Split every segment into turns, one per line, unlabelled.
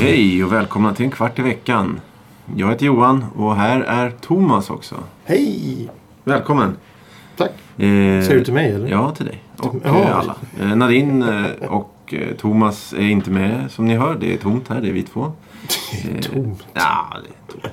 Hej och välkomna till en kvart i veckan. Jag heter Johan och här är Thomas också.
Hej!
Välkommen!
Tack.
Eh,
Ser du till mig eller?
Ja, till dig. Och
Ja.
eh, alla. Eh, Nadine eh, och eh, Thomas är inte med som ni hör. Det är tomt här, det är vi två.
Det är tomt.
Ja, det är tomt.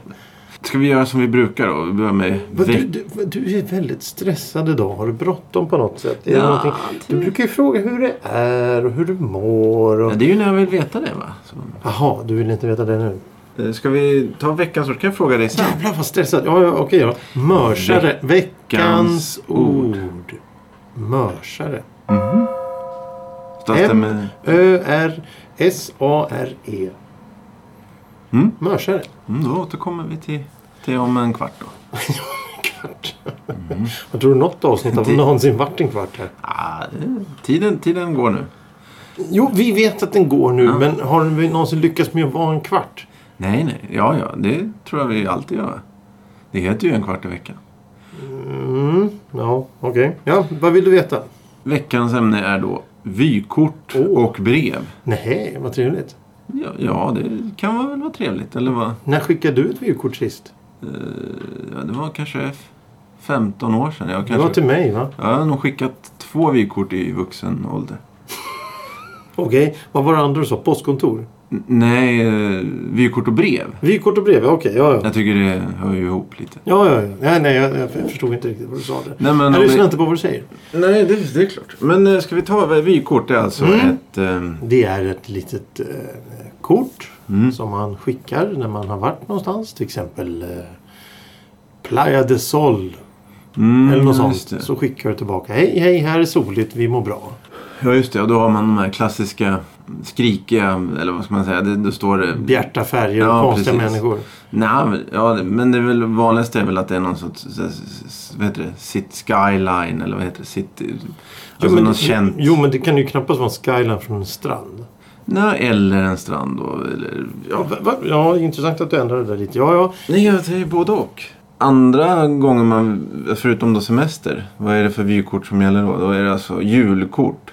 Ska vi göra som vi brukar då? Vi börjar med...
Vad, du,
veck-
du, vad, du är väldigt stressad idag. Har du bråttom på något sätt? Är
Ja,
det någonting- du brukar ju fråga hur det är och hur du mår. Och...
Ja, det är ju när jag vill veta det va? Så,
Jaha, du vill inte veta det nu?
eh, ska vi ta veckan så kan jag fråga dig sen?
Jävlar vad stressad. Ja, ja okej då. Mörsare. Veckans
ord.
ord. Mörsare.
Stas det med...
Ö-R-S-A-R-E.
Mm.
E. Mörsare.
Mm, då återkommer vi till, till om en kvart då.
Kvart. Jag tror något avsnitt har
Mm. Det-
någonsin varit en kvart här.
Ah, det, tiden, tiden går nu.
Jo, vi vet att den går nu, men har vi någonsin lyckats med att vara en kvart?
Nej, nej. Ja, ja. Det tror jag vi alltid gör. Det heter ju en kvart i veckan.
Mm, ja, okej. Ja, vad vill du veta?
Veckans ämne är då vykort
Åh.
och brev.
Nej, vad trevligt.
Ja, ja, det kan vara- väl vara trevligt. Eller vad?
När skickade du ett vykort sist?
Ja, det var kanske f- 15 år sedan. Jag,
Det var typ-
kanske,
till mig, va?
jag har nog skickat två vykort i vuxen ålder.
Okej, vad var det andra du sa? Postkontor?
N- nej, eh, vykort och brev.
Vykort och brev, ja, okej. Ja, ja.
Jag tycker det hör ju ihop lite.
Ja, ja, ja. Nej, nej, jag, jag förstod inte riktigt vad du sa. Där.
Nej, men
jag
om
lyssnar
vi-
inte på vad du säger.
Nej, det, är klart. Men eh, ska vi ta vad- vykort? Det är alltså
Mm.
ett... Eh,
Det är ett litet eh, kort
Mm.
som man skickar när man har varit någonstans. Till exempel eh, Playa de Sol.
mm,
Eller något
just det.
sånt. Så skickar du tillbaka. Hej, hej, här är soligt, vi mår bra.
Ja, just det. Och då har man de här klassiska skrikiga, eller vad ska man säga? Det, då står det...
Bjärta färger
Ja,
och konstiga
precis. Alltså,
människor.
Nej, men- ja, det- men det är väl vanligaste är väl att det är någon sorts, så- så- så- vad heter det, sit skyline eller vad heter det, city... Alltså
men,
någon
det-
känt...
jo, men det kan ju knappast vara en skyline från en strand.
Nej, eller en strand då, eller... Ja.
Va, va, ja, intressant att du ändrade det där lite. Ja, ja.
Nej, jag säger både och. Andra gånger man, förutom då semester, vad är det för vykort som gäller då? Då är det alltså julkort.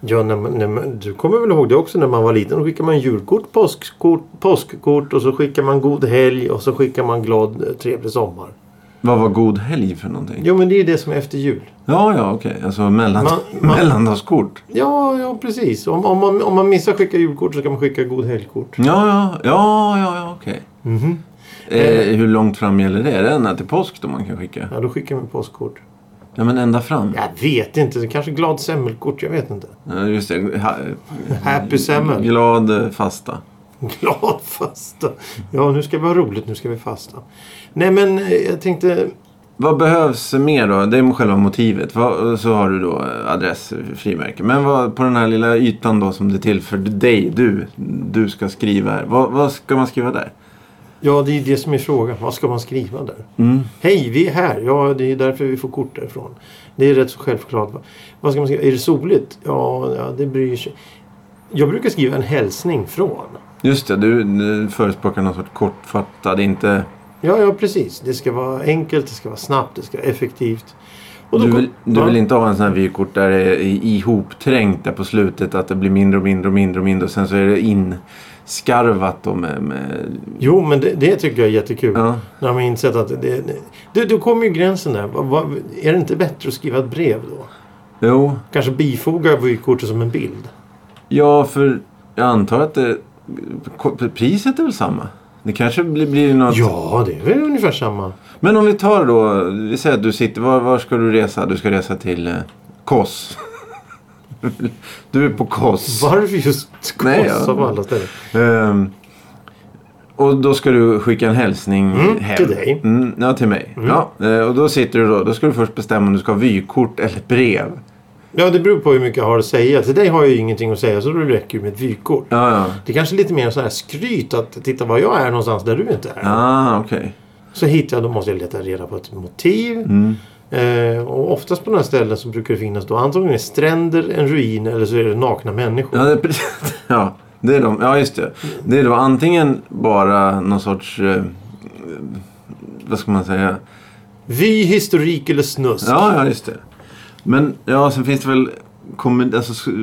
ja när man, när man, du kommer väl ihåg det också när man var liten. Då skickade man julkort, påskkort, påskkort och så skickar man god helg och så skickar man glad eh, trevlig sommar.
Vad var god helg för någonting?
Jo, men det är det som är efter jul.
Ja, ja, okej. Alltså mellan,
Man- man-
mellandagskort.
Ja, ja precis. Om, om, man, om man missar att skicka julkort så kan man skicka god helgkort.
Ja, ja, ja, ja, ja okej. Eh, hur långt fram gäller det? Är det ända till påsk då man kan skicka?
Ja, då skickar man påskkort.
Ja, men ända fram.
Jag vet inte. Det kanske är glad semmelkort. Jag vet inte.
Ja, just det. Ha,
Happy semmel.
glad eh, fasta.
Glad fasta. Ja, nu ska vi ha roligt. Nu ska vi fasta. Nej, men eh, jag tänkte...
Vad behövs mer då? Det är själva motivet. Vad- Så har du då eh, adress, frimärke. Men vad, på den här lilla ytan då som det är till för dig, du, du ska skriva här. Vad, vad ska man skriva där?
Ja, det är det som är frågan. Vad ska man skriva där?
Mm.
Hej, vi är här. Ja, det är därför vi får kort därifrån. Det är rätt så självklart. va? Vad ska man skriva? Är det soligt? Ja, ja det bryr sig. Jag brukar skriva en hälsning från.
Just det, du, du förespråkar någon sorts kortfattad, inte...
Ja, ja precis. Det ska vara enkelt, det ska vara snabbt, det ska vara effektivt. Och då
Du vill,
kom-
du
ja,
vill inte ha en sån här vykort där det är ihopträngt där på slutet att det blir mindre och mindre och mindre och mindre och sen så är det inskarvat då med... med
Jo, men det, det tycker jag är jättekul.
ja.
När man har insett att det... det du, då kommer ju gränsen där. Vad- vad- är det inte bättre att skriva ett brev då?
Jo,
Kanske bifoga vykortet som en bild?
ja för jag antar att det, priset är väl samma? Det kanske blir, blir något...
Ja, det är väl ungefär samma.
Men om vi tar då, vi säger att du sitter, var, var ska du resa? Du ska resa till eh, Kos. du är på Kos.
Varför just Kos
Nej, ja.
av alla ställen?
Ehm, och då ska du skicka en hälsning
Mm,
hem.
till dig.
Mm, ja, till mig. Ja, eh, och då sitter du då. Då ska du först bestämma om du ska ha vykort eller brev.
Ja, det beror på hur mycket jag har att säga. Till dig har jag ju ingenting att säga så då räcker det med ett vykort.
Ja, ja.
Det är kanske lite mer en sån här skryt att titta var jag är någonstans där du inte är.
Ah, okej. Mm.
Så hittar jag, då måste jag leta reda på ett motiv. Eh, och oftast på några ställen så brukar det finnas då antingen stränder, en ruin eller så är det nakna människor.
Ja, det, är precis- ja, det är de. Ja, just det. Det är då antingen bara någon sorts... Eh, vad ska man säga?
Vy, historik eller snusk.
Ja, ja, just det. Men ja, sen finns det väl komedi, alltså, s-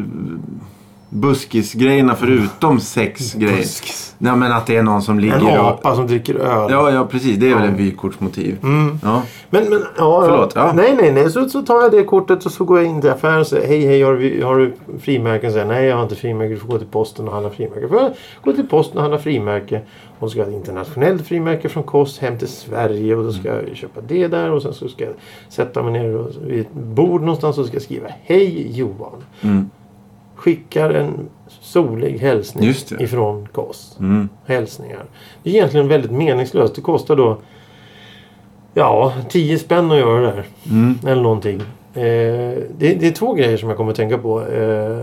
buskisgrejerna förutom sexgrejer.
Mm. Buskis.
Nej, men att det är någon som
En
ligger och...
apa som dricker öl.
Ja, ja, precis. Det är väl
Ja.
en vykortsmotiv.
Mm.
Ja.
Men, men, ja,
Förlåt, ja.
Nej, nej, nej. Så, så tar jag det kortet och så går jag in till affären och säger hej, hej, har du, har du frimärken? Så säger jag, nej, jag har inte frimärken. Du får gå till posten och handla frimärke. Får jag gå till posten och handla frimärke. Och så ska jag ha ett internationellt frimärke från Kost hem till Sverige. Och då ska jag köpa det där. Och sen så ska jag sätta mig ner och- vid ett bord någonstans och ska jag skriva hej Johan.
Mm.
Skickar en solig hälsning
Just det.
ifrån Kost
Mm.
hälsningar. Det är egentligen väldigt meningslöst. Det kostar då ja, 10 spänn att göra det här.
Mm.
Eller någonting. Eh, det, det är två grejer som jag kommer att tänka på. Eh,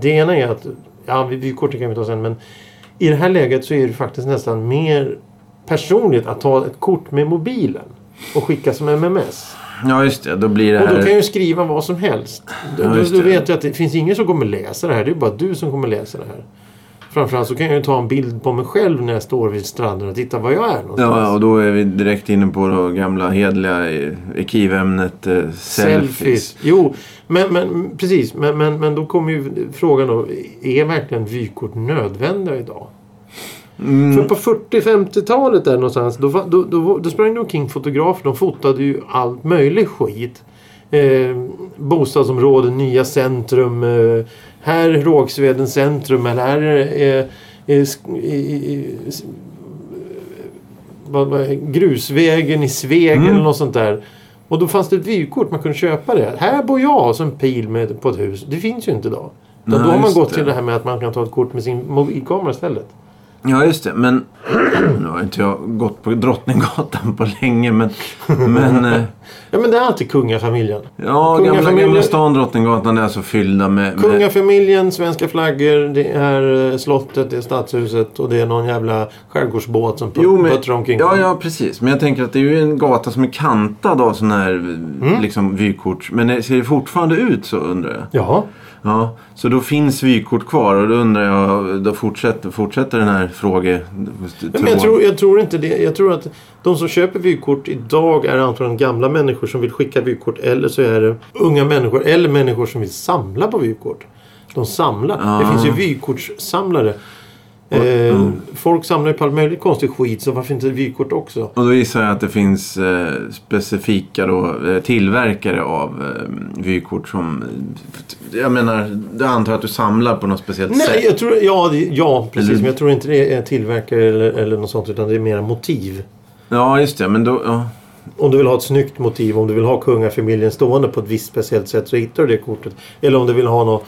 det ena är att, ja vi, vi kortet kan vi ta sen men i det här läget så är det faktiskt nästan mer personligt att ta ett kort med mobilen och skicka som MMS.
ja, just det. Då blir det
Och då kan jag
här...
ju skriva vad som helst. Då,
Ja,
då,
just
då
det.
vet jag att det finns ingen som kommer läsa det här. Det är bara du som kommer läsa det här. Framförallt så kan jag ju ta en bild på mig själv när jag står vid stranden och titta var jag är någonstans.
Ja, och då är vi direkt inne på det gamla hedliga eh, arkivämnet eh, selfies.
Selfies. Jo, men, men precis. Men, men, men då kommer ju frågan då. Är verkligen vykort nödvändiga idag?
Mm.
För på 40-50-talet där någonstans. Då, var- då, då, då sprang det omkring fotografer. De fotade ju allt möjligt skit. Eh, bostadsområden, nya centrum. Eh, här är Rågsveden centrum. Eller här är eh, eh, sk- i- i- i- s- vad, vad, grusvägen i Sveg
Mm.
eller något sånt där. Och då fanns det ett vykort, man kunde köpa det. Här bor jag som pil med, på ett hus. Det finns ju inte idag. Utan
Nej,
då har man
just
gått
det.
till det här med att man kan ta ett kort med sin mobilkamera istället.
Ja, just det. Men nu har inte jag gått på Drottninggatan på länge, men... men eh,
Ja men det är alltid kungafamiljen.
ja, gamla,
Kungafamiljen-
gamla stan Drottninggatan är alltså fyllda med... med
Kungafamiljen, svenska flaggor, det är eh, slottet, det är stadshuset och det är någon jävla skärgårdsbåt som
Jo, men,
puttrar omkring.
ja, ja, precis. Men jag tänker att det är ju en gata som är kantad av sådana här
Mm.
liksom, vykort. Men det ser det fortfarande ut så undrar jag?
Jaha.
Ja, så då finns vykort kvar och då undrar jag, då fortsätter, fortsätter den här frågetråden.
Ja, Men jag, tror, jag tror inte det. Jag tror att de som köper vykort idag är antagligen gamla människor som vill skicka vykort eller så är det unga människor eller människor som vill samla på vykort. De samlar.
Ja.
Det finns ju vykortssamlare. Eh,
Mm.
Folk samlar ju på all möjlig konstig skit så varför inte vykort också?
Och då gissar jag att det finns eh, specifika då, eh, tillverkare av eh, vykort som... eh, Jag menar, jag antar att du samlar på något speciellt
Nej,
sätt.
jag tror, ja, det- ja, precis.
Eller-
Men jag tror inte det är tillverkare eller, eller något sånt utan det är mera motiv.
Ja, just det. Men då... Ja.
Om du vill ha ett snyggt motiv, om du vill ha kungafamiljen stående på ett visst speciellt sätt så hittar du det kortet. Eller om du vill ha någon,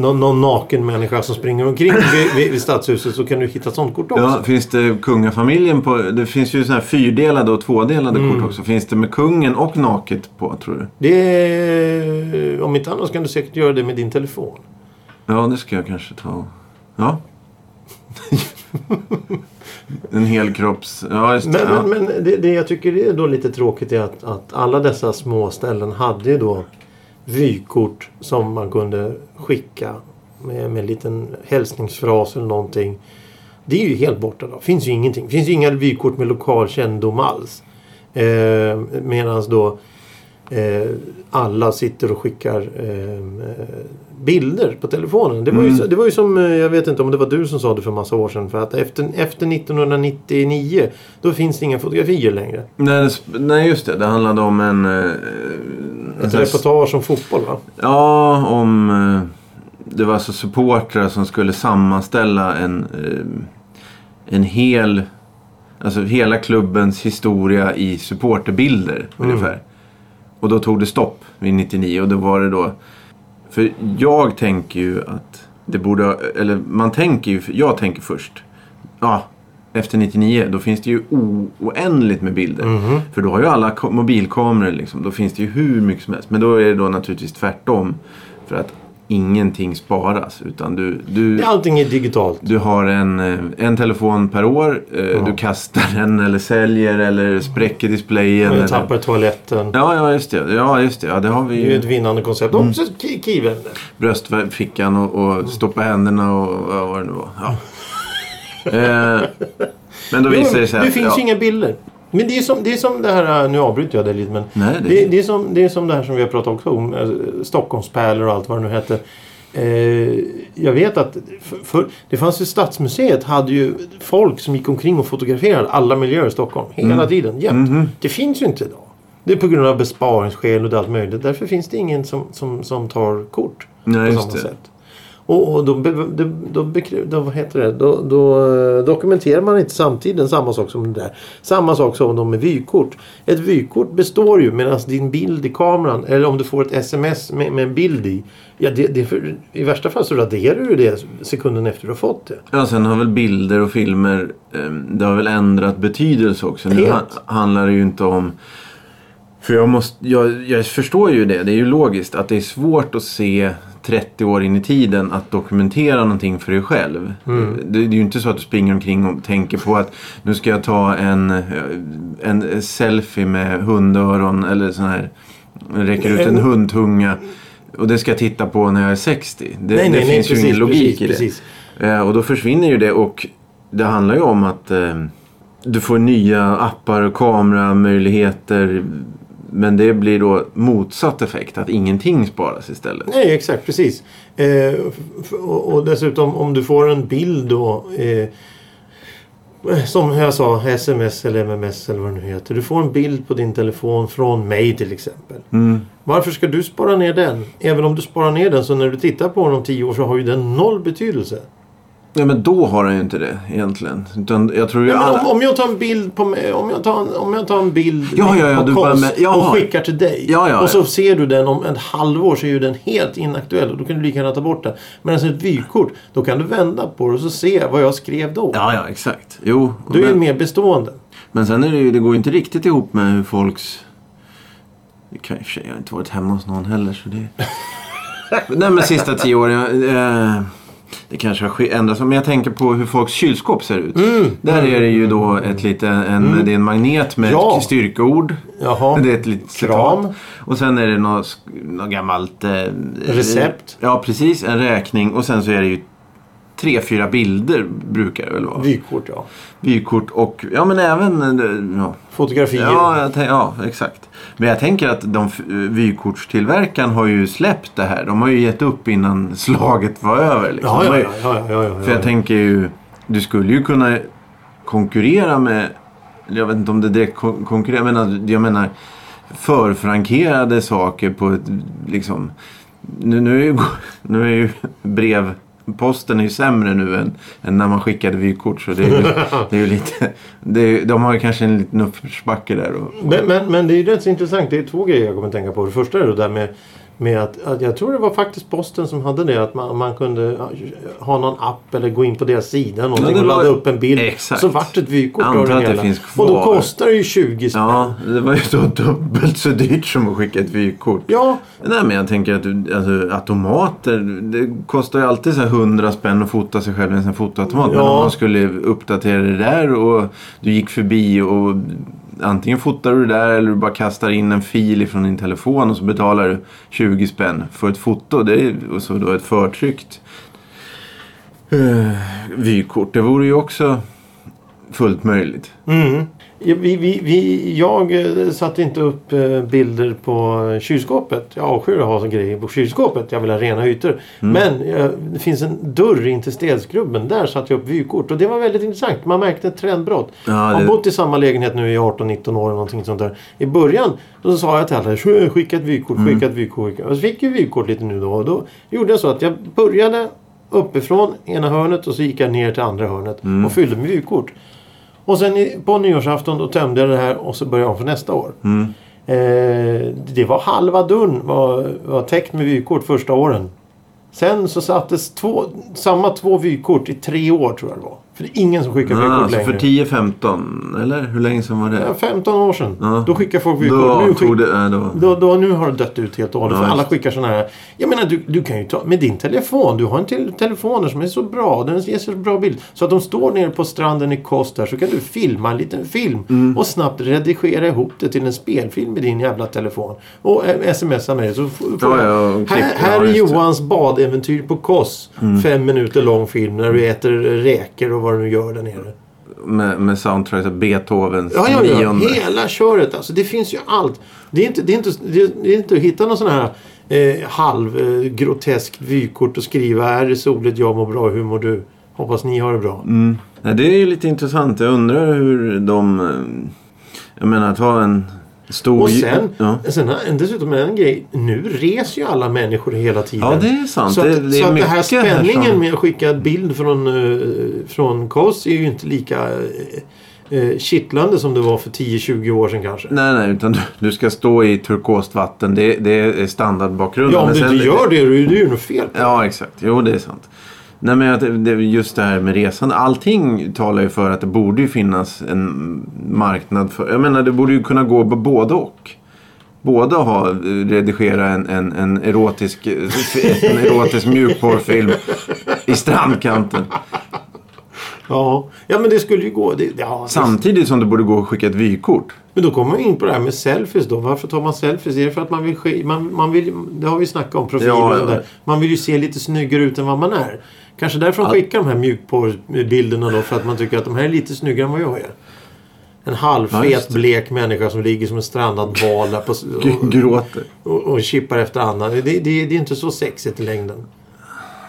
någon, någon naken människa som springer omkring vid, vid, vid stadshuset så kan du hitta ett sånt kort också.
Ja, finns det kungafamiljen på... Det finns ju sådana här fyrdelade och tvådelade
Mm.
kort också. Finns det med kungen och naket på, tror du?
Det är, om inte annat så kan du säkert göra det med din telefon.
Ja, det ska jag kanske ta. och- Ja. en helkropps... Ja, just det.
Men,
ja.
men, men det, det jag tycker är då lite tråkigt är att, att alla dessa små ställen hade ju då vykort som man kunde skicka med, med en liten hälsningsfras eller någonting. Det är ju helt borta då. Finns ju ingenting. Finns ju inga vykort med lokal kännedom alls. Eh, Medan då eh, alla sitter och skickar eh, eh, bilder på telefonen. Det var, ju,
Mm.
så- det var ju som, eh, jag vet inte om det var du som sa det för massa år sedan. För att efter, efter 1999 då finns det inga fotografier längre.
Nej, det, sp- nej, just det. Det handlade om en... eh, en
Ett
sån här-
reportage om fotboll va?
Ja, om... eh, Det var alltså supportrar som skulle sammanställa en, eh, en hel... Alltså hela klubbens historia i supporterbilder ungefär. Och då tog det stopp vid 99 och då var det då... För jag tänker ju att det borde... Eller man tänker ju... Jag tänker först. Ja, efter 99 då finns det ju o- oändligt med bilder. För då har ju alla ko- mobilkameror liksom. Då finns det ju hur mycket som helst. Men då är det då naturligtvis tvärtom. För att ingenting sparas. Utan du, du,
Allting är digitalt.
du har en, eh, en telefon per år. eh, Du kastar den eller säljer eller spräcker displayen.
Man
Eller...
tappar toaletten.
Ja, ja, just det. Ja, just det. Ja, det har vi
Det är ju
ju.
ett vinnande koncept. Mm. Också ki- kiven.
Bröstfickan och, och stoppa händerna och ja, vad det nu var. Ja. eh, men då visar det sig
det
att-
finns
ja.
ju inga bilder. Men det är som det, är som det här, äh, nu avbryter jag det lite men.
Nej, det-
det, är som, det är som det här som vi har pratat också om, eh, Stockholmspärlor och allt vad det nu hette. Eh, jag vet att för, för, det fanns ju Stadsmuseet hade ju folk som gick omkring och fotograferade alla miljöer i Stockholm hela
Mm.
tiden, jämt.
Mm-hmm.
Det finns ju inte idag. Det är på grund av besparingsskäl och allt möjligt. Därför finns det ingen som, som, som tar kort
Nej,
på
just
samma
det.
sätt. Och, och då, be- då, då, bekrä- då, vad heter det? Då, då eh, dokumenterar man inte samtiden samma sak som det där. Samma sak som de med vykort. Ett vykort består ju medan din bild i kameran eller om du får ett sms med, med en bild i. Ja, det, det är för, I värsta fall så raderar du det sekunden efter du har fått det.
Ja, sen har väl bilder och filmer, eh, det har väl ändrat betydelse också. Nu
Helt.
han- handlar det ju inte om... För jag, måste, jag, jag förstår ju det, det är ju logiskt att det är svårt att se 30 år in i tiden att dokumentera någonting för dig själv.
Mm.
Det, det är ju inte så att du springer omkring och tänker på att nu ska jag ta en, eh, en selfie med hundöron eller sån här, räcker ut en
En-
hundtunga. Och det ska jag titta på när jag är 60. Det,
Nej,
det
nej, nej,
finns ju
precis,
ingen logik
precis,
i det.
precis.
Eh, Och då försvinner ju det och det handlar ju om att eh, du får nya appar och kameramöjligheter. Men det blir då motsatt effekt, att ingenting sparas istället.
Nej, exakt, precis. Eh, f- f- och, och dessutom om du får en bild då. Eh, som jag sa, sms eller mms eller vad det nu heter. Du får en bild på din telefon från mig till exempel. Varför ska du spara ner den? Även om du sparar ner den så när du tittar på den om tio år så har ju den noll betydelse.
Ja, men då har han ju inte det egentligen. Utan jag tror ju
Men om,
alla...
om jag tar en bild på mig, om jag tar en, om jag tar en bild
Ja, ja, ja,
på
du bara med- ja.
och skickar till dig.
Ja, ja,
och så
ja.
ser du den om ett halvår så är ju den helt inaktuell och då kan du lika gärna ta bort den. Medan ett vykort, då kan du vända på det och så se vad jag skrev då.
Ja, ja, exakt. Jo,
Då är det
men,
mer bestående.
men sen är det ju, det går ju inte riktigt ihop med hur folks... Det kan i och för sig, jag har inte varit hemma hos någon heller så det... Nej, men sista tio åren... jag, Eh, det kanske har ske- ändrats, men jag tänker på hur folks kylskåp ser ut.
Mm.
Där är det ju då ett lite, en, det är en magnet med
Ja.
ett styrkeord.
Jaha.
Det är ett litet
Kram.
citat. Och sen är det något, sk- något gammalt... Eh,
Recept.
Ja, precis. En räkning. Och sen så är det ju tre, fyra bilder brukar det väl vara.
Vykort ja.
Vykort och, ja men även... eh, Ja.
Fotografier.
Ja, jag tän- ja, exakt. Men jag tänker att de f- vykortstillverkaren har ju släppt det här. De har ju gett upp innan slaget var över. Liksom.
ja,
De
ja,
har ju-
ja, ja, ja, ja,
För jag tänker ju, du skulle ju kunna konkurrera med, eller jag vet inte om det direkt kon- konkurrerar, men jag menar förfrankerade saker på ett liksom, nu, nu, är, ju, nu är ju brevposten är ju sämre nu än, än när man skickade vykort. Så det är ju, det är ju lite, det är, ju- de har ju kanske en liten uppförsbacke där. Och,
Men, men, men det är ju rätt så intressant. Det är två grejer jag kommer att tänka på. Det första är det där med, med att, att jag tror det var faktiskt posten som hade det. Att man, man kunde ha någon app eller gå in på deras sida någonting,
det
och
var-
ladda upp en bild.
Exakt.
Så vart det ett vykort
Antar
av
att
det
det
hela.
finns
Och då
kvar.
kostar det ju 20 spänn. Ja.
ja, det var ju då dubbelt så dyrt som att skicka ett vykort.
ja,
Nej men jag tänker att du- alltså, automater, det kostar ju alltid så här 100 spänn att fota sig själv i en sån här fotoautomat. Men
Ja.
om man skulle uppdatera det där och du gick förbi och antingen fotar du det där eller du bara kastar in en fil ifrån din telefon och så betalar du 20 spänn för ett foto. Det är, och så då ett förtryckt eh, vykort. Det vore ju också fullt möjligt.
vi, vi, vi, jag eh, satte inte upp eh, bilder på eh, kylskåpet. Jag avskyr att ha så grejer på kylskåpet. Jag vill ha rena ytor.
Mm.
Men eh, det finns en dörr in till städskrubben. Där satte jag upp vykort. Och det var väldigt intressant. Man märkte ett trendbrott.
Ja,
Jag
det-
har bott i samma lägenhet nu i 18-19 år. Eller någonting sånt där. I början då sa jag till alla "Sjö, skicka ett vykort,
Mm.
skicka ett vykort. Skicka. Och så fick jag vykort lite nu då. Och då gjorde jag så att jag började uppifrån ena hörnet och så gick jag ner till andra hörnet
Mm.
och fyllde med vykort. Och sen i- på nyårsafton då tömde jag det här och så började jag om för nästa år.
Mm.
Eh, det var halva dörren var, var täckt med vykort första åren. Sen så sattes två, samma två vykort i tre år tror jag det var. För det är ingen som skickar
Ah,
vykort
så
längre.
för 10-15, eller? Hur länge sedan var
Ja,
det?
15 år sedan.
Ja.
Då skickar folk vykort.
Då
nu,
tog
skick,
det... Nej, då.
då, då, nu har det dött ut helt och hållet.
Ja,
för alla
just.
skickar sådana här. Jag menar du, du kan ju ta med din telefon. Du har en till, telefoner som är så bra. Den ger så bra bild. Så att de står nere på stranden i Kost där så kan du filma en liten film.
Mm.
Och snabbt redigera ihop det till en spelfilm i din jävla telefon. Och eh, smsa mig. Så f- får
Ja,
jag-
ja, Mm. och klipp-
här, här
ja,
är
just det.
Johans badäventyr på Kos. Fem minuter lång film när du äter räkor och vad du nu gör där nere.
Med, med soundtrack av Beethovens
Ja, ja, ja.
nionde.
Hela köret. Alltså, det finns ju allt. Det är inte, det är inte, det är, det är inte att hitta någon sån här eh, halv eh, groteskt vykort och skriva här är soligt, jag mår bra, hur mår du? Hoppas ni har det bra.
Mm. Nej, det är ju lite intressant. Jag undrar hur de... eh, Jag menar, att ha en stor...
Och sen,
Ja,
sen har- dessutom en grej. Nu reser ju alla människor hela tiden.
ja det är sant.
Så, att,
det, det är
så att det här
mycket som-
spänningen med att skicka en bild från, eh, från KOS är ju inte lika eh, eh, kittlande som det var för 10-20 år sedan kanske.
Nej, nej, utan du, du ska stå i turkost vatten. Det, det är standardbakgrunden.
Ja, om
Men
du
sen-
inte gör det, då är det ju något fel.
Ja, exakt. Jo, det är sant. Nej, men jag- det- det- just det här med resande. Allting talar ju för att det borde ju finnas en marknad för... Jag menar, det borde ju kunna gå på både och. Både ha, eh, redigera en, en, en erotisk, eh, en erotisk mjukporrfilm i strandkanten.
Ja, ja men det skulle ju gå. Det, ja,
Samtidigt som det borde gå att skicka ett vykort.
Men då kommer man in på det här med selfies då. Varför tar man selfies? Är det för att man vill, ske- man, man vill det har vi snackat om, profilen
Ja, ja.
där. Man vill ju se lite snyggare ut än vad man är. Kanske därför de skickar de här mjukporrbilderna då för att man tycker att de här är lite snyggare än vad jag är. En
Ja,
halvfet
just det. där
blek människa som ligger som en strandad val där på,
G- gråter.
och, och, och kippar efter Anna. Det, det, det är inte så sexigt i längden.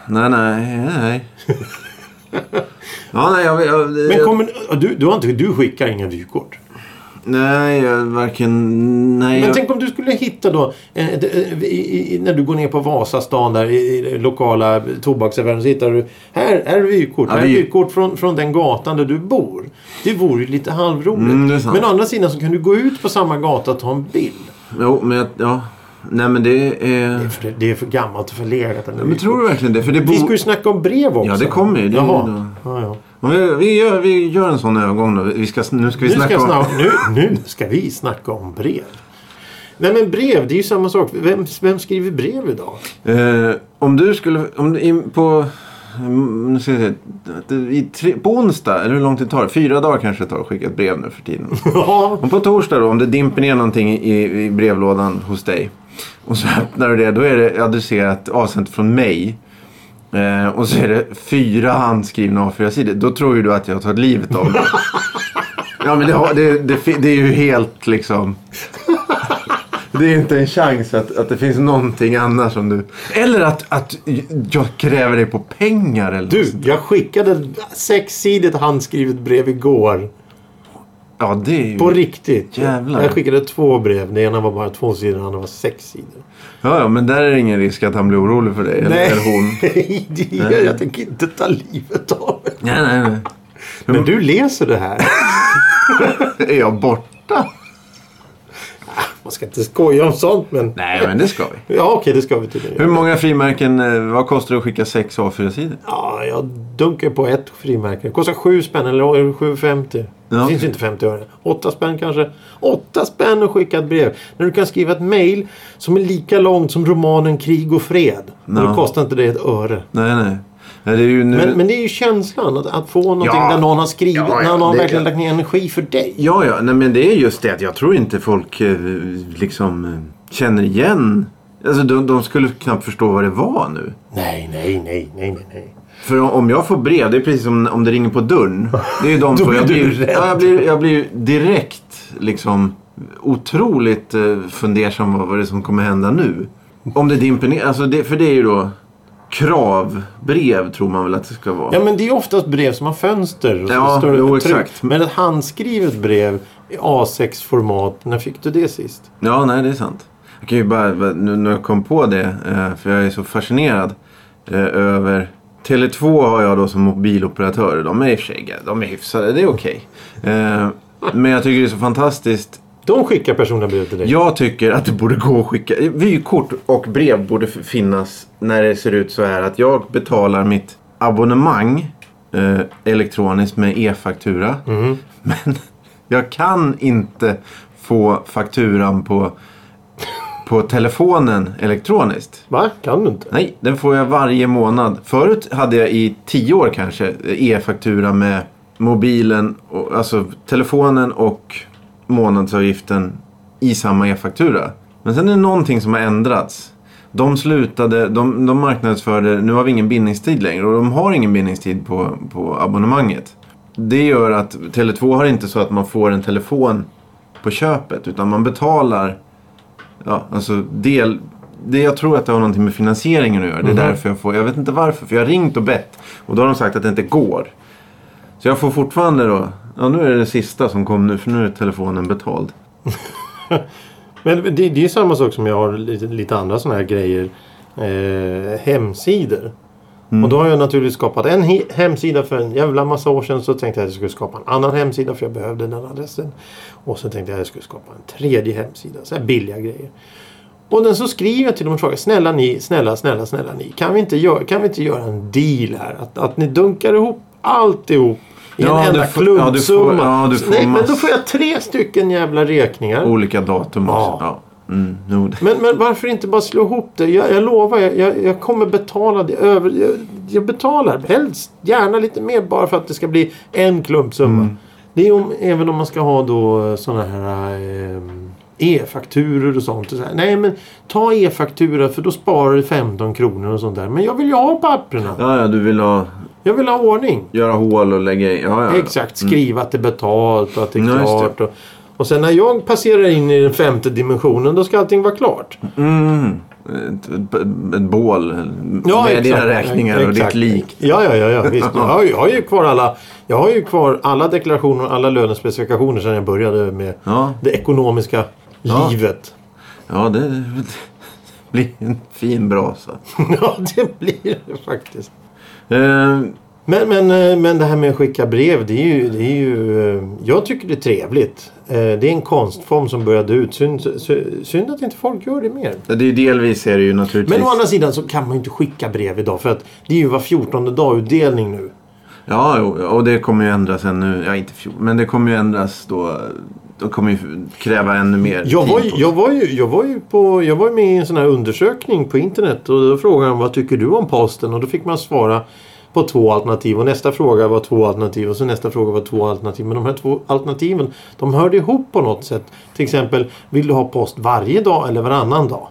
Nej, nej, nej. Ja, nej, jag... jag, jag
Men kommer, du, du, har inte, du skickar inga vykort?
Nej, jag varken... Nej,
Men
jag,
tänk om du skulle hitta då, eh, d- eh, i- i- när du går ner på Vasastan där i, i lokala tobaksaffären så hittar du, här här är vykort,
Ja,
här är
vy-
vykort från, från den gatan där du bor. Det vore ju lite halvroligt.
Mm, det är sant.
Men å andra sidan så kan du gå ut på samma gata och ta en bild.
Jo, men jag, ja. Nej, men det är...
För det, det är för gammalt och förlegat. Ja,
Men tror du verkligen det? För det
Vi ska
bo...
ju snacka om brev också.
Ja, det kommer ju. Det är ju
Jaha.
då.
Ja, ja.
Om vi, vi, gör, vi gör en sån övergång då. Vi ska, nu ska vi
Nu
snacka
ska,
om...
snab- nu, nu ska vi snacka om brev. Nej men brev, det är ju samma sak. Vem, vem skriver brev idag?
Eh, om du skulle... Om, du in, på... mm, Nu ska jag se, att det- i tre, på onsdag, eller hur lång tid tar det? Fyra dagar kanske det tar att skicka ett brev nu för tiden.
Ja,
Om på torsdag då, om det dimper ner någonting i, i brevlådan hos dig. Och så öppnar du det, då är det adresserat avsänt från mig. Eh, och så är det fyra handskrivna A4-sidor. Då tror ju du att jag har tagit livet av mig. ja men det, har, det, det, fi- det är ju helt liksom... Det är inte en chans att, att det finns någonting annars som du... Eller att, att jag kräver dig på pengar eller något
Du,
sånt.
jag skickade ett sexsidigt handskrivet brev igår.
Ja, det är ju...
På riktigt.
Mm. Jävlar.
Jag skickade två brev. Det ena var bara två sidor, det andra var sex sidor.
Ja, ja, men där är det ingen risk att han blir orolig för dig. Eller, eller hon.
Nej, det gör jag. Jag tänker inte ta livet av mig.
Nej, nej, nej.
Men du läser det här.
Är jag borta?
Man ska inte skoja om sånt, men...
Nej, men det ska vi.
Ja, okej, det ska vi tydligen
Hur
göra.
många frimärken, eh, vad kostar det att skicka sex A4-sidor?
Ja, jag dunkar på ett frimärke. Det kostar sju spänn, eller 7,50.
Ja.
Det finns ju inte 50 öre. Åtta spänn kanske. Åtta spänn att skicka ett brev. När du kan skriva ett mejl som är lika långt som romanen Krig och fred. Och
Ja.
det kostar inte det ett öre.
Nej, nej. Nej, det är ju nu...
Men, men det är ju känslan att, att få någonting
Ja.
där någon har skrivit,
Ja, ja,
när någon
det-
verkligen lagt ner energi för dig.
Ja, ja. Nej, men det är just det att jag tror inte folk eh, liksom eh, känner igen. Alltså, de, de skulle knappt förstå vad det var nu.
Nej, nej, nej, nej, nej, nej.
För om- om jag får brev, det är precis som om det ringer på dörren. Det är ju de
Då
två.
blir
Jag
du
blir,
rädd.
ja, jag blir, jag blir ju direkt liksom otroligt eh, fundersam vad, vad det är som kommer hända nu. Om det dimper ner. Alltså det, för det är ju då kravbrev tror man väl att det ska vara.
Ja, men det är oftast brev som har fönster. Och så
Ja,
står det
jo,
tryck.
exakt.
Men ett handskrivet brev i A6-format, när fick du det sist?
Ja, nej det är sant. Jag kan ju bara, nu när jag kom på det, eh, för jag är så fascinerad eh, över Tele2 har jag då som mobiloperatör. De är i och för sig ga- de är hyfsade, det är okej. Eh, Men jag tycker det är så fantastiskt
De skickar personliga brev till dig.
Jag tycker att det borde gå att skicka. Vykort och brev borde f- finnas när det ser ut så här att jag betalar mitt abonnemang eh, elektroniskt med e-faktura. Men jag kan inte få fakturan på, på telefonen elektroniskt.
Va? Kan du inte?
Nej, den får jag varje månad. Förut hade jag i tio år kanske e-faktura med mobilen, och, alltså telefonen och månadsavgiften i samma e-faktura. Men sen är det någonting som har ändrats. De slutade, de, de marknadsförde, nu har vi ingen bindningstid längre och de har ingen bindningstid på, på abonnemanget. Det gör att Tele2 har inte så att man får en telefon på köpet utan man betalar Ja, alltså del... Det jag tror att det har någonting med finansieringen att göra.
Mhm.
Det är därför jag får... Jag vet inte varför. För jag har ringt och bett. Och då har de sagt att det inte går. Så jag får fortfarande då... Ja, nu är det det sista som kom nu. För nu är telefonen betald.
Men det, det är ju samma sak som jag har lite, lite andra sådana här grejer. Eh, hemsidor.
Mm.
Och då har jag naturligtvis skapat en he- hemsida för en jävla massa år sedan. Så tänkte jag att jag skulle skapa en annan hemsida för jag behövde den adressen. Och så tänkte jag att jag skulle skapa en tredje hemsida. Så här billiga grejer. Och den så skriver jag till dem och frågar snälla ni, snälla, snälla, snälla ni. Kan vi inte göra, kan vi inte göra en deal här? Att, att ni dunkar ihop alltihop i
Ja,
en
du
enda
får- ja, du får-
klumpsumma.
ja, du får
Nej, men då
mass-
får jag tre stycken jävla räkningar.
Olika datum också. Ja.
Ja.
Mm, jo, det-
Men, men varför inte bara slå ihop det? Jag, jag lovar, jag, jag, jag kommer betala det. Över, jag, jag betalar helst, gärna lite mer bara för att det ska bli en klumpsumma.
Mm.
Det är om, även om man ska ha då sådana här ehm, e-fakturor och sånt. Och så här. Nej men ta e-faktura för då sparar du 15 kronor och sånt där. Men jag vill ju ha papperna.
Ja, ja, du vill ha,
Jag vill ha ordning.
göra hål och lägga i. Ja, ja, ja.
Exakt, skriva att det är betalt och att det är
Mm. Ja, just
klart. Och, och sen när jag passerar in i den femte dimensionen då ska allting vara klart.
Mm. Ett, ett, ett bål med dina
exakt.
räkningar och
Exakt.
ditt lik.
Ja, ja, ja, ja visst. Jag har, ju- jag har ju kvar alla, jag har ju kvar alla deklarationer och alla lönespecifikationer sedan jag började med
Ja,
det ekonomiska
Ja.
livet.
ja det, det blir en fin brasa.
Ja, det blir det faktiskt.
Eh,
Men, men, eh, men det här med att skicka brev, det är ju... Det är ju eh, jag tycker det är trevligt. Eh, Det är en konstform som började ut. Synd, sy- synd att inte folk gör det mer.
Ja, Det är delvis är det ju naturligtvis.
Men å andra sidan så kan man ju inte skicka brev idag för att det är ju var 14 dag-utdelning nu.
Ja, jo, och det kommer ju ändras ännu. Ja, inte fjol, men det kommer ju ändras då. Då kommer ju kräva ännu mer
Jag var, ju,
tid. på-
jag, var ju, jag, var ju på, jag var ju med i en sån här undersökning på internet och då frågade han vad tycker du om posten? Och då fick man svara på två alternativ och nästa fråga var två alternativ och så nästa fråga var två alternativ. Men de här två alternativen de hörde ihop på något sätt. Till exempel vill du ha post varje dag eller varannan dag?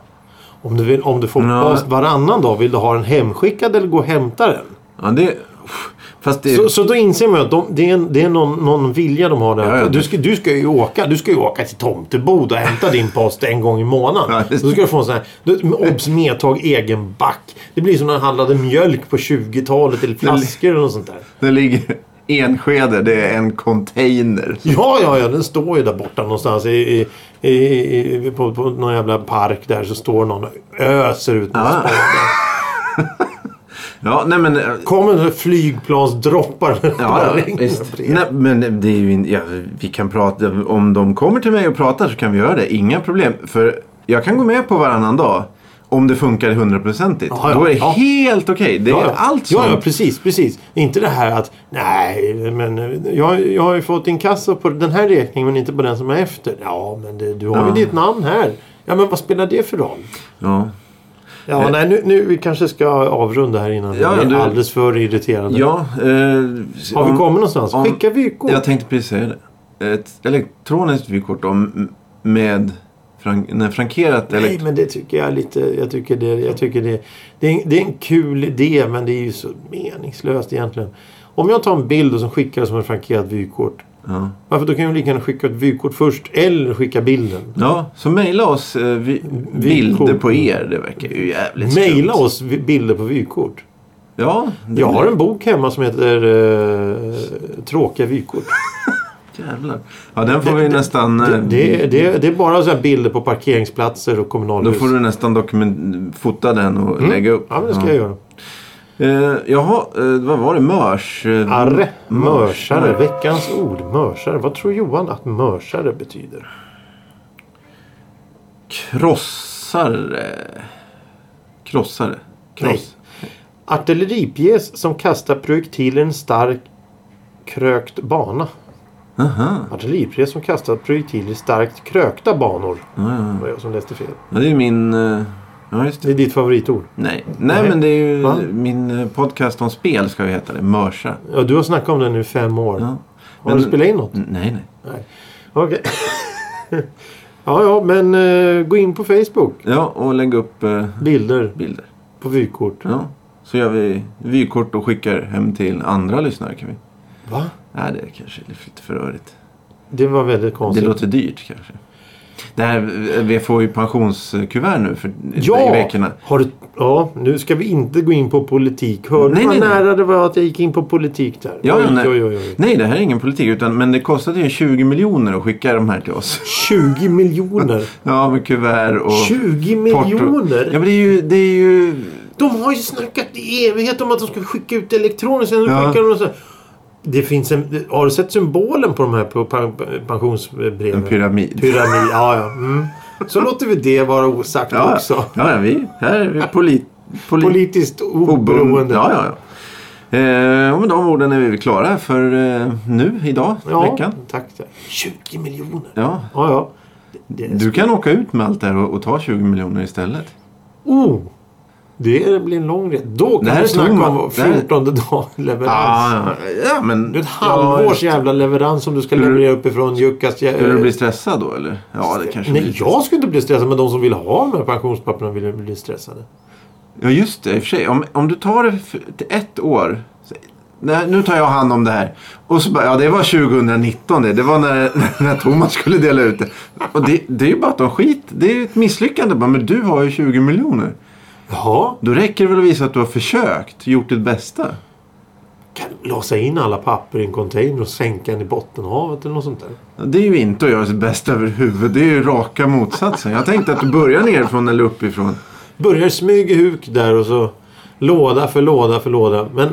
Om du, vill, om du får
Ja.
post varannan dag, vill du ha den hemskickad eller gå och hämta den?
Ja, det... uff, Fast det...
Så, så då inser man ju att de, det är, en, det är någon, någon vilja de har där.
Ja, ja,
du,
det-
ska, du ska ju åka Du ska ju åka till Tomteboda och hämta din post en gång i
Ja,
månaden.
det-
Då ska du få en sån här... du- Obs! Medtag egen back. Det blir som när han handlade mjölk på 20-talet eller flaskor eller något sånt där.
det ligger enskede. Det är en container.
Ja, ja, ja. Den står ju där borta någonstans i, i, i, i, på, på någon jävla park där så står någon och öser ut med
Ah.
spade.
Ja, nej men... eh,
Kommer några flygplansdroppar.
Ja,
Bara
ja,
regnar
visst.
brev.
Nej, men det är ju in, ja, vi kan prata, om de kommer till mig och pratar så kan vi göra det. Inga problem. För jag kan gå med på varannan dag. Om det funkar hundraprocentigt.
Ja, ja,
Då är det
ja.
helt okej. Det är allt
ja, ja,
sånt.
precis, precis. Inte det här att nej, men eh, jag, jag har ju fått inkasso på den här räkningen men inte på den som är efter. Ja, men det, du har
Ja.
ju ditt namn här. Ja, men vad spelar det för roll?
Ja.
Ja, nej, nu, nu vi kanske ska avrunda här innan
Eh. Ja,
det blir
du-
alldeles för irriterande.
Ja, eh,
har vi
om-
kommit någonstans?
om-
Skicka vykort.
Jag tänkte precis säga det. Ett elektroniskt vykort om med frank nej, frankerat
Nej,
elekt-
men det tycker jag är lite... Jag tycker det, jag tycker det, det, är, det är en kul idé, men det är ju så meningslöst egentligen. Om jag tar en bild och så skickar det som en frankerat vykort.
ja.
Varför då kan jag lika gärna skicka ett vykort först eller skicka bilden.
ja, så mejla oss eh, vi, bilder på er. Det verkar ju jävligt
Maila
skumt.
oss vi- bilder på vykort.
Ja, det
Jag har en bok hemma som heter eh, Tråkiga vykort.
Jävlar. Ja, den får vi
Det- det-
nästan... eh,
Det, det, det, det är bara så här bilder på parkeringsplatser och
Då
kommunalhus.
får du nästan dokument, fota den och lägga upp.
Mm. Ja, men det ska jag göra.
Eh, jaha, eh, vad var det? Mörs? eh,
Arre, mörsare. Veckans ord, mörsare. Vad tror Johan att mörsare betyder?
Krossare? Krossare? Kross?
Artilleripjäs som kastar projektiler en stark krökt bana.
Aha.
Artilleripjäs som kastar projektiler i starkt krökta banor.
Ja, ja.
Det var jag som läste fel.
ja, det är min... eh, Ja, just det.
Det är ditt favoritord.
Nej. Nej,
Nej.
men det är ju...
Va?
Min eh, podcast om spel ska ju heta det. Mörsa.
Ja, du har snackat om det nu i fem år.
Ja.
har
men-
du spelat in något?
N- Nej, nej.
Nej. Okej. ja, ja, men eh, gå in på Facebook.
Ja, och lägg upp eh,
Bilder
bilder.
på vykort.
Ja. Så gör vi vykort och skickar hem till andra lyssnare. Kan vi?
Va?
Nej, det kanske är lite för rörigt.
Det var väldigt
Det
konstigt.
låter dyrt kanske. Det här, eh, vi får ju pensionskuvert nu för
Ja!
i veckorna.
Har du... ja, nu ska vi inte gå in på politik. Hörde
Nej,
du vad
nej, nej.
nära det var att jag gick in på politik där?
Ja,
oj,
nej.
oj, oj, oj.
Nej, det här är ingen politik. Utan, men det kostade ju 20 miljoner att skicka de här till oss.
20 miljoner!
Ja, med kuvert och...
20
porto.
miljoner!
Ja, men det är ju... Det är ju...
De har ju snackat i evighet om att de ska skicka ut elektroner. Sen
Ja.
skickar de så här. Det finns en, har du sett symbolen på de här på pen- pensionsbreven?
En pyramid.
Pyramid, ja ja. Mm. Så låter vi det vara osagt
ja,
också.
Ja, ja, vi... Här är vi polit... polit-
Politiskt
oberoende.
oberoende.
Ja, ja, ja. Eh, och med de orden är vi väl klara för eh, nu, idag,
Ja,
veckan.
tack. tack. 20 miljoner.
Ja.
Ja, ja. Det, det,
Du kan åka ut med allt det här och, och ta 20 miljoner istället.
oh, det blir en lång resa. Då
Det här
kan
är
vi snacka
tomma-
om
det här är- Ah,
14 dag leverans.
Ja, ja, ja, men...
Det är ett halvårs jävla leverans som du ska leverera uppifrån Jukkas.
Skulle du bli stressad då eller? Ja, det kanske
Nej,
blir.
jag skulle inte bli stressad. Men de som vill ha de här pensionspapperna vill ju bli stressade.
Ja, just det. I och för sig. Om, om du tar det för, till ett år. Så, nej, nu tar jag hand om det här. Och så bara, ja det var 2019 det. Det var när, när Thomas skulle dela ut det. Och det, det är ju bara att de skit. Det är ju ett misslyckande. Bara, men du har ju 20 miljoner.
Jaha,
Då räcker det väl att visa att du har försökt. Gjort ditt bästa.
kan du låsa in alla papper i en container och sänka den i Bottenhavet eller något sånt där.
Ja, Det är ju inte att göra sitt bästa överhuvud. Det är ju raka motsatsen. Jag tänkte att du börjar nerifrån eller uppifrån.
Börjar smyga huk där och så låda för låda för låda. Men,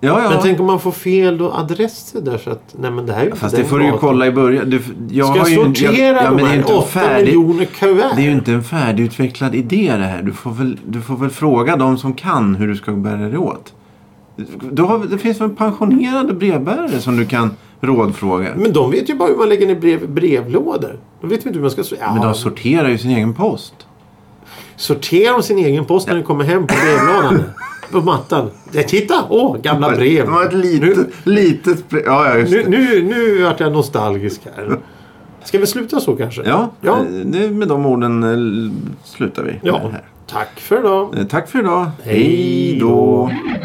Ja, ja.
men tänk om man får fel då adresser där så att nej men det här är ju
Fast
inte
det
den
får du ju
gatan.
kolla i början. Du, jag
Ska
har
jag
ju,
sortera
jag, ja,
de
men det är
här
ju inte en
8
färdig,
miljoner kuvert?
Det är ju inte en färdigutvecklad idé det här. Du får, väl, du får väl fråga de som kan hur du ska bära dig åt. Du har, det finns väl pensionerade brevbärare som du kan rådfråga.
Men de vet ju bara hur man lägger ner brev, brevlådor. De vet ju inte hur man ska... Ja,
Men de sorterar ju sin egen post.
Sorterar de sin egen post när den kommer hem på brevlådan? på mattan. Ja, titta! Åh, gamla brev.
Det var ett litet, litet brev. Ja, ja, just
Nu,
det.
nu, nu vart jag nostalgisk här. Ska vi sluta så kanske?
Ja,
Ja.
eh, det, med de orden eh, l- slutar vi. med
ja.
det här.
Tack för idag.
Eh, Tack för idag.
Hej då.
Hej då.